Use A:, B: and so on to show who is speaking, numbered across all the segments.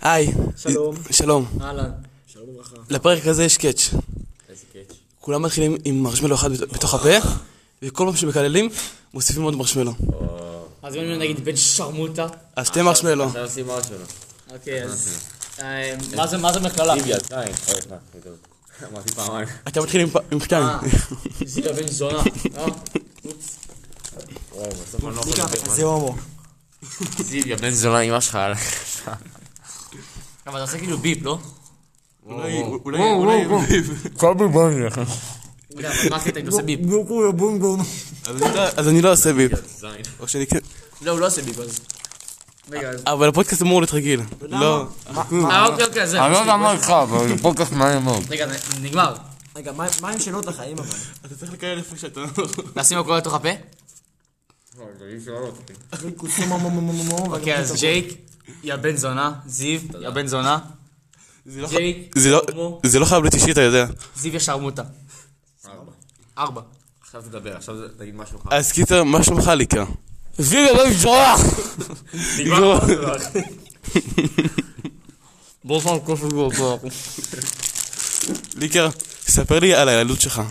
A: היי,
B: שלום.
A: שלום.
B: אהלן. שלום וברכה.
A: לפרק הזה יש קאץ'.
B: איזה קאץ'.
A: כולם מתחילים עם מרשמלו אחד בת- בתוך הפה, וכל פעם שמקללים, מוסיפים עוד מרשמלו.
C: אז אם אני נגיד בן שרמוטה,
A: אז שתי מרשמלו.
D: עכשיו עושים משהו.
C: אוקיי, אז... אה, מה זה, מה זה מכללה?
D: טיבי, עדיין. אוי, מה, בדיוק. אמרתי פעמיים.
A: אתה מתחיל עם פ- עם שתיים.
C: אה. זיקה בן זונה, אה?
D: וואי, בסוף אני לא יכול לדבר.
E: זה הומו.
D: זיו, יא בן זונה, אמא שלך. על-
C: אבל אתה עושה כאילו ביפ, לא?
A: אולי,
D: אה,
A: אולי, אולי,
C: רגע, אבל מה הקטע אם אתה עושה ביפ?
E: בוקו יא בונגון.
A: אז אתה- אז אני לא עושה ביפ.
D: זין.
A: או שאני כן.
C: לא, הוא לא עושה ביפ אז. רגע, אז...
A: אבל הפודקאסט אמור להיות רגיל. לא.
C: אה, אוקיי, אוקיי, אז זהו.
D: לא מה איתך, אבל זה פודקאסט מעניין מאוד.
C: רגע, נ- נגמר.
E: רגע, מה מה עם שאלות לחיים אבל?
A: אתה צריך לקלל איפה שאתה... לא-
C: נשים הכל לתוך הפה? לא
E: זה כוסו מו מו מו מו מו.
C: אוקיי, אז ג'ייק, יא בן זונה, זיו, יא בן זונה, ג'ייק,
A: זה לא-
C: הומו,
A: זה לא חייב להיות אישי, אתה יודע.
C: זיו יא שרמוטה. ארבע. אה,
D: עכשיו תדבר, עכשיו זה- תגיד משהו חם.
A: אז קיצר, מה שלומך ליקה? זיו, יא בן זונה!
D: לא,
A: נגמר.
C: בוא פעם כוס לגור.
A: ליקה, ספר לי על הילדות שלך.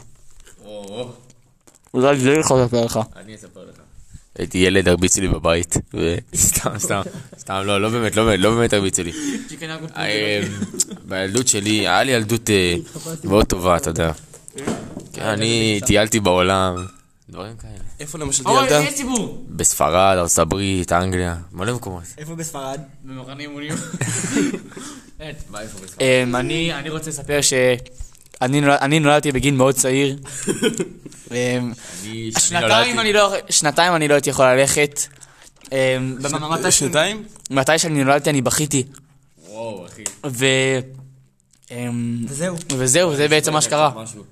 D: או,
C: אולי ג'ייק יכול לספר לך.
D: אני אספר לך. הייתי ילד, הרביצו לי בבית. ו- סתם, סתם. סתם, לא, לא באמת, לא באמת, לא באמת הרביצו לי. אה, בילדות שלי, היה לי ילדות אה, מאוד טובה, אתה יודע.
C: אה?
D: כן, אני טיילתי בעולם, דברים כאלה.
A: איפה למשל
C: אוי,
A: טיילת?
C: יש ציבור!
D: בספרד, ארצות הברית, אנגליה, מלא מקומות.
E: איפה בספרד?
C: במחנה אימונים. אמ, אני אני רוצה לספר שאני נולד- אני נולדתי בגיל מאוד צעיר. אמ,
D: אני
C: שנתיים אני לא שנתיים אני לא הייתי יכול ללכת. אמ, במתי ש-
A: שנתיים?
C: מתי שאני נולדתי אני בכיתי.
D: וואו, אחי.
C: ו... אמ,
E: וזהו.
C: וזהו, זה בעצם מה שקרה.
D: משהו.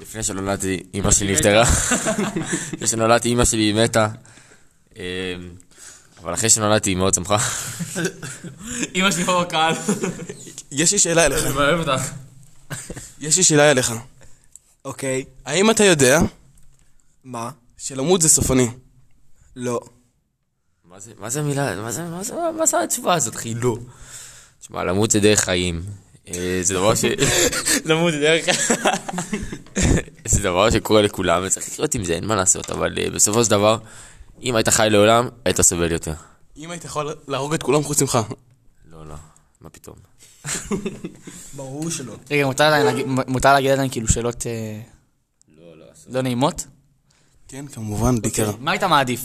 D: לפני שנולדתי, אימא שלי נפטרה. לפני שנולדתי, אימא שלי מתה. אמ, אבל אחרי שנולדתי, היא מאוד שמחה.
C: אמא שלי פה בקהל.
A: יש לי שאלה אליך.
D: אני אוהב אותך.
A: יש לי שאלה אליך.
E: אוקיי.
A: האם אתה יודע
E: מה?
A: שלמות זה סופני?
E: לא.
D: מה זה- מה זה המילה, מה זה- מה זה- מה זה התשובה הזאת, אחי? לא. תשמע, למות זה דרך חיים. אה, זה דבר ש...
C: למות דרך.
D: זה דבר שקורה לכולם, וצריך לחיות עם זה, אין מה לעשות. אבל אה, בסופו של דבר, אם היית חי לעולם, היית סובל יותר.
A: אם היית יכול להרוג את כולם חוץ ממך.
D: לא, לא. מה פתאום?
E: ברור שלא.
C: רגע, מותר להם להגיד- מותר להגיד עליהם כאילו שאלות אה, לא אוקיי. נעימות?
A: כן, כמובן,
E: אוקיי.
A: בעיקר.
C: מה היית מעדיף?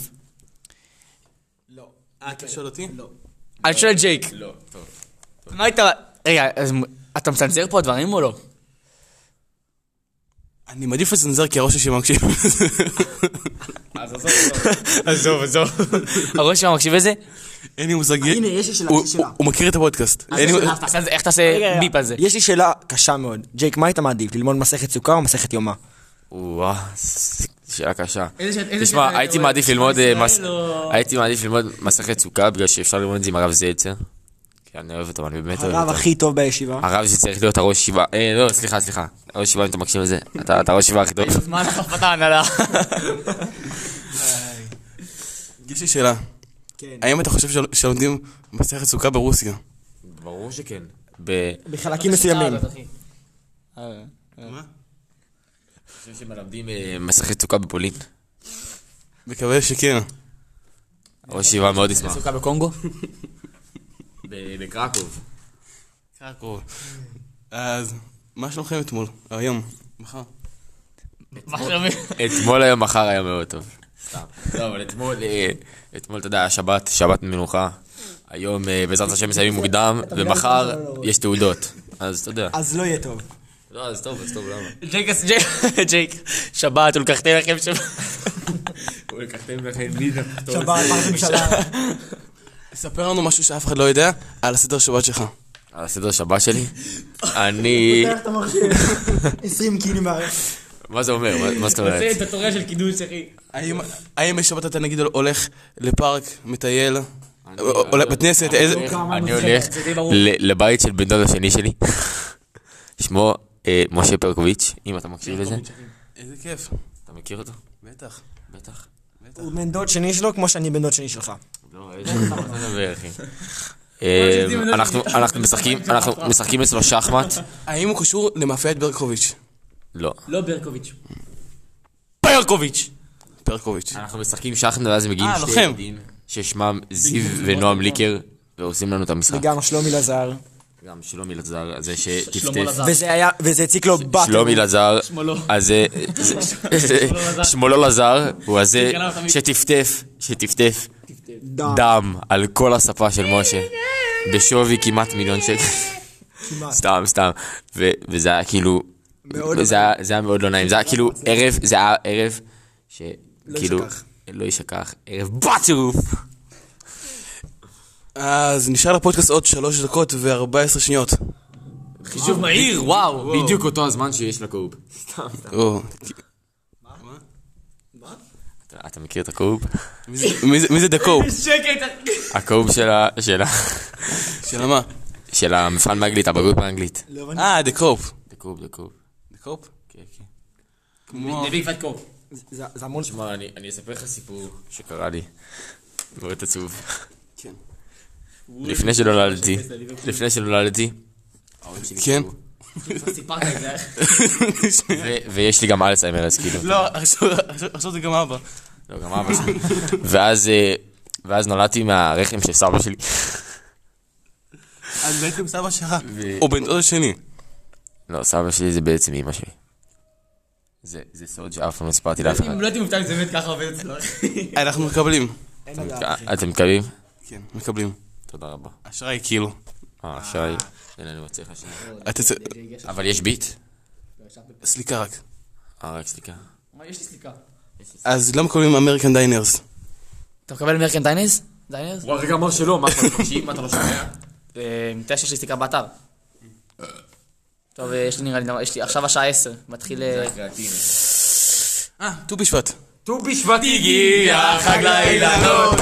E: אוקיי.
A: אתה שואל אותי? לא.
C: אני שואל ג'ייק.
D: לא, טוב.
C: מה היית... רגע, אז אתה מצנזר פה דברים או לא?
A: אני מעדיף לצנזר כי הראש שלי מקשיב.
D: אז עזוב.
C: עזוב, עזוב. הראש שלך מקשיב לזה?
A: אין לי מושג.
E: הנה, יש לי שאלה,
A: הוא-
E: יש לי שאלה.
A: הוא- הוא מכיר את הפודקאסט. אין לי-
C: אז תעשה את זה- איך תעשה ביפ על זה?
E: יש לי שאלה קשה מאוד. ג'ייק, מה היית מעדיף? ללמוד מסכת סוכה או מסכת יומא?
D: וואו, ס- שאלה קשה.
C: איזה שאלה- איזה
D: תשמע,
C: שאלה
D: הייתי
C: אתה
D: מעדיף
C: אוהב?
D: ללמוד... אה,
C: ישראל
D: מס-
C: או-
D: הייתי מעדיף ללמוד מסכת סוכה, בגלל שאפשר ללמוד את זה עם הרב זלצר. כי אני אוהב אותו, אני באמת אוהב
E: הרב
D: אותו.
E: הכי טוב בישיבה.
D: הרב שצריך להיות הראש ישיבה... אה, לא, סליחה, סליחה. הראש ישיבה, אם אתה מקשיב לזה, אתה אתה הראש ישיבה הכי טוב.
C: מה לחפת ההנהלה?
A: יש לי שאלה.
E: כן.
A: האם אתה חושב של- שלומדים מסכת סוכה ברוסיה?
D: ברור שכן.
E: בחלקים מסוימים.
D: חושב שמלמדים אה, מסכת סוכה בפולין.
A: מקווה שכן.
D: הראש ישיבה מאוד ישמח.
C: סוכה בקונגו?
D: בקרקוב.
A: אז, מה שלומכם אתמול? היום? מחר?
C: מה שלומי?
D: אתמול היום, מחר היה מאוד טוב. סתם. לא, אבל אתמול, אה, אתמול, אתה יודע, היה שבת, שבת מנוחה. היום, אה, בעזרת השם, מסיימים מוקדם, ומחר יש תעודות. אז אתה יודע.
E: אז לא יהיה טוב.
D: לא, אז טוב, אז טוב, למה?
C: ג'ייק, אז ג'ייק, ג'ייק, שבת, ולקחתי לכם שבת.
D: אה.
E: שבת, פרק ממשלה.
A: ספר לנו משהו שאף אחד לא יודע על הסדר שבת שלך.
D: על הסדר שבת שלי? אני...
E: פותח את המחשב. 20 קילים מהרשת.
D: מה זה אומר? מה- מה זאת אומרת?
C: זה את התורה של קידוש, אחי.
A: האם- האם בשבת אתה נגיד הולך לפארק, מטייל,
D: אני-
A: עולה בית כנסת, איזה...
D: הולך- אני הולך ל- לבית של בן דוד השני שלי. שמו אה, משה פרקוביץ', אם אתה מקשיב לזה.
A: איזה כיף.
D: אתה מכיר אותו?
A: בטח.
D: בטח.
E: הוא בן דוד שני שלו כמו שאני בן דוד שני שלך.
D: לא, איזה... מה אתה מדבר, אחי? אה, אנחנו אנחנו משחקים אנחנו משחקים אצלו שחמט?
A: האם הוא קשור למאפיית ברקוביץ'?
D: לא.
B: לא ברקוביץ'.
A: ברקוביץ'! ברקוביץ'.
D: אנחנו משחקים שחמט ואז מגיעים
A: אה,
D: שתי
A: לוחם.
D: ילדים ששמם זיו ונועם ליקר ועושים לנו את המשחק.
E: וגם שלומי לזר.
D: גם שלומי לזר, זה שטפטף.
B: לזר.
E: וזה היה, וזה הציק לו בת.
D: שלומי לזר,
B: שמאלו.
D: אז זה- זה- זה- שמאלו לזר, הוא הזה
B: כן, כן,
D: שטפטף, שטפטף דם על כל הספה של משה, בשווי כמעט מיליון שקל, סתם, סתם, ו- וזה היה כאילו, זה היה- זה היה מאוד לא נעים, זה היה כאילו ערב, זה היה ערב, שכאילו,
E: יישכח.
D: לא יישכח, ערב בצירוף,
A: אז נשאר לפודקאסט עוד 3 דקות ו-14 שניות.
B: חישוב מהיר, וואו.
D: בדיוק אותו הזמן שיש לקורב,
A: או,
D: אתה- אתה מכיר את הקורב?
A: מי זה- מי זה- מי זה דקו?
B: שקט.
D: הקורב של ה- של ה-
A: שאלה מה?
D: של המבחן באנגלית, הבגרות באנגלית,
A: אה, דקופ.
D: דקורב, דקורב,
A: דקופ?
D: כן, כן.
B: נביא גבעת קוף.
E: זה זה המון
D: תשמע, אני, אני אספר לך סיפור שקרה לי. מאוד עצוב.
A: כן.
D: לפני שנולדתי, לפני שנולדתי,
A: כן.
B: סיפרת את זה.
D: ו- ויש לי גם אלצהיימר, אז כאילו,
A: לא, עכשיו- עכשיו- עכשיו זה גם אבא.
D: לא, גם אבא שלי. ואז, אה, ואז נולדתי מהרחם של סבא שלי.
A: אז בעצם סבא שלך. הוא בן דוד השני.
D: לא, סבא שלי זה בעצם אמא שלי. זה, זה סוד שאף פעם לא סיפרתי לאף אחד.
B: אם לא הייתי מופתע אם זה באמת ככה עובד אצלו.
C: לא-
A: אנחנו מקבלים.
D: אתם- אה, אתם מקבלים?
A: כן, מקבלים.
D: תודה רבה.
A: אשראי כאילו.
D: אה, שי. אין לנו מצליח לשנייה.
A: אתה צ-
D: אבל יש ביט?
A: סליקה רק.
D: אה, רק סליחה.
B: יש לי סליקה.
A: אז לא מקבלים אמריקן דיינרס.
C: אתה מקבל מרקן דיינרס? דיינרס?
D: הוא הרגע אמר שלא, מה אתה מקשיב? מה אתה לא שומע?
C: אה, תראה שיש לי סליקה באתר. טוב, אה, יש לי נראה לי, דבר- יש לי עכשיו השעה 10, מתחיל... אה,
A: אה, ט"ו בשבט.
D: ט"ו בשבט הגיע, חג לאילנות.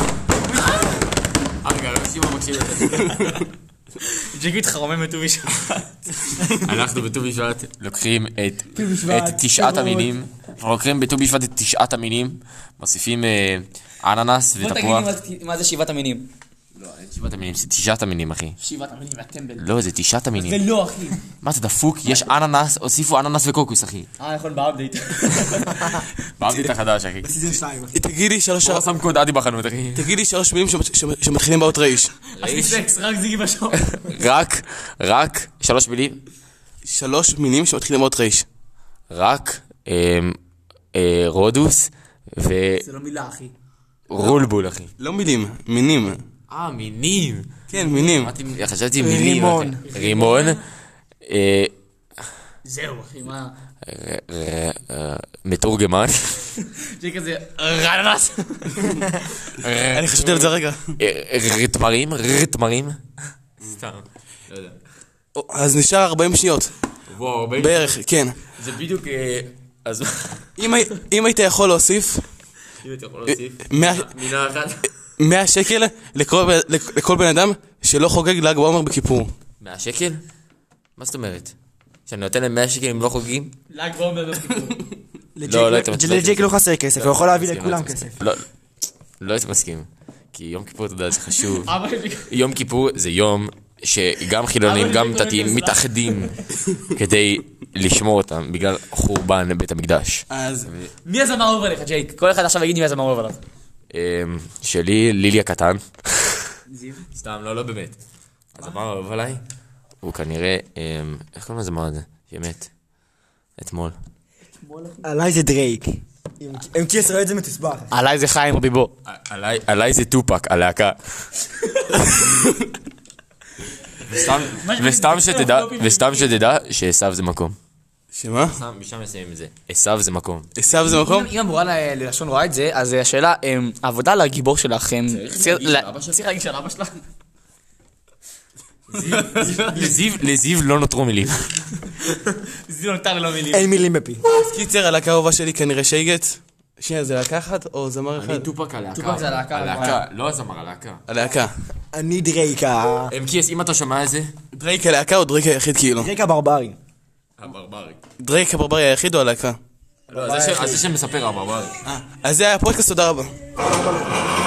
D: רגע, לא סימן מקשיב לזה.
C: ג'יגו התחרומם בט"ו בשבט.
D: אנחנו בט"ו בשבט לוקחים את את תשעת המינים, אנחנו לוקחים בט"ו בשבט את תשעת המינים, מוסיפים אה, אננס
C: בוא תגיד לי
D: ותפוח.
C: מה- מה זה שבעת המינים.
D: תשעת המינים, זה תשעת המינים, אחי.
C: שבעת המינים והטמבל.
D: לא, זה תשעת המינים.
C: ולא, לא, אחי.
D: מה, אתה דפוק? יש אננס, הוסיפו אננס וקוקוס, אחי.
C: אה, נכון, באפדייט.
D: באבדיט החדש, אחי.
E: סיזן 2.
A: תגידי שלוש
D: הוא שם קוד אדי בחנות, אחי.
A: תגידי שלוש מילים שמ- שמ- שמתחילים באות רייש.
B: עשיתי סקס, רק זיגי בשעון.
D: רק, רק, שלוש מילים.
A: שלוש מילים שמתחילים באות רייש.
D: רק אה, אה, רודוס
B: זה לא מילה, אחי.
D: ורולבול, אחי.
A: לא מילים, מינים.
D: אה, מינים.
A: כן, מינים.
D: אמרתי- חשבתי מילים.
E: רימון.
D: אחי. רימון. אה,
B: זהו, אחי, מה?
D: ר- ר- אה, מתורגמן.
B: שיהיה כזה רנס.
A: אני חשבתי על זה רגע.
D: אה, רתמרים, רתמרים. סתם. לא
A: או, אז נשאר 40 שניות.
D: וואו,
A: בערך, כן.
D: זה בדיוק... אה, אז
A: אם הי- אם היית יכול להוסיף
D: אם אתה יכול להוסיף
A: מאה-
D: מילה אחת.
A: 100 שקל לכל בן- לכ- לכל בן אדם שלא חוגג ל"ג בעומר בכיפור.
D: 100 שקל? מה זאת אומרת? שאני נותן להם 100 שקל אם לא חוגגים?
B: ל"ג בעומר בפיקור.
D: לא, לא הייתם מצליחים.
E: לג'ייק לא חסר כסף, הוא יכול להביא
D: מסכים,
E: לכולם
D: לא הייתי
E: כסף.
D: מסכים. לא, לא הייתי מסכים. כי יום כיפור, אתה יודע, זה חשוב.
B: אבא שלי
D: יום כיפור זה יום שגם חילונים,
B: אבל
D: גם
B: זה
D: דתיים
B: קורה
D: מתאחדים כדי לשמור אותם בגלל חורבן בית המקדש.
A: אז
C: מי הזמר אהוב עליך, ג'ייק? כל אחד עכשיו יגיד לי מי הזמר אהוב עליו.
D: אמ, שלי, לילי הקטן. סתם, לא, לא באמת. אז אמר אהוב עליי? הוא כנראה, אמ, איך קוראים לזמר הזה? שמת. אתמול.
E: עליי זה דרייק. עם- עם כיס רואה את לא זה מתוסבך.
C: עליי זה חיים רביבו.
D: עליי- עליי זה טופק, הלהקה. וסתם- וסתם שתדע, וסתם שתדע שעשו זה מקום.
A: שמה?
D: משם נסיים את זה. עשו זה מקום.
A: עשיו זה מקום?
C: אם המורה ל- ללשון רואה את זה, אז השאלה, אמ, העבודה על הגיבור שלך, אמ, צריך
D: להגיד של
C: ל-
D: אבא שלך?
C: צריך להגיד של אבא שלך?
D: לזיו, לזיו לא נותרו מילים.
C: זיו נותר
D: לא
C: ללא מילים.
E: אין מילים בפי.
A: אז קיצר, הלהקה האהובה שלי כנראה שייגט. שנייה, זה להקה אחת או זמר אחד?
D: טופק הלהקה.
C: טופק זה הלהקה,
D: הלהקה, לא הזמר, הלהקה.
A: הלהקה.
E: אני דרייק ה...
D: אמקיאס, אמ, אם אתה שומע את זה...
A: דרייק הלהקה או דרייק היחיד כאילו?
E: דרייק הברברי.
D: הברברי.
A: דרייק הברברי היחיד או הלהקה?
D: לא, זה שמספר הברברי.
A: אז זה היה הפודקאסט, תודה רבה.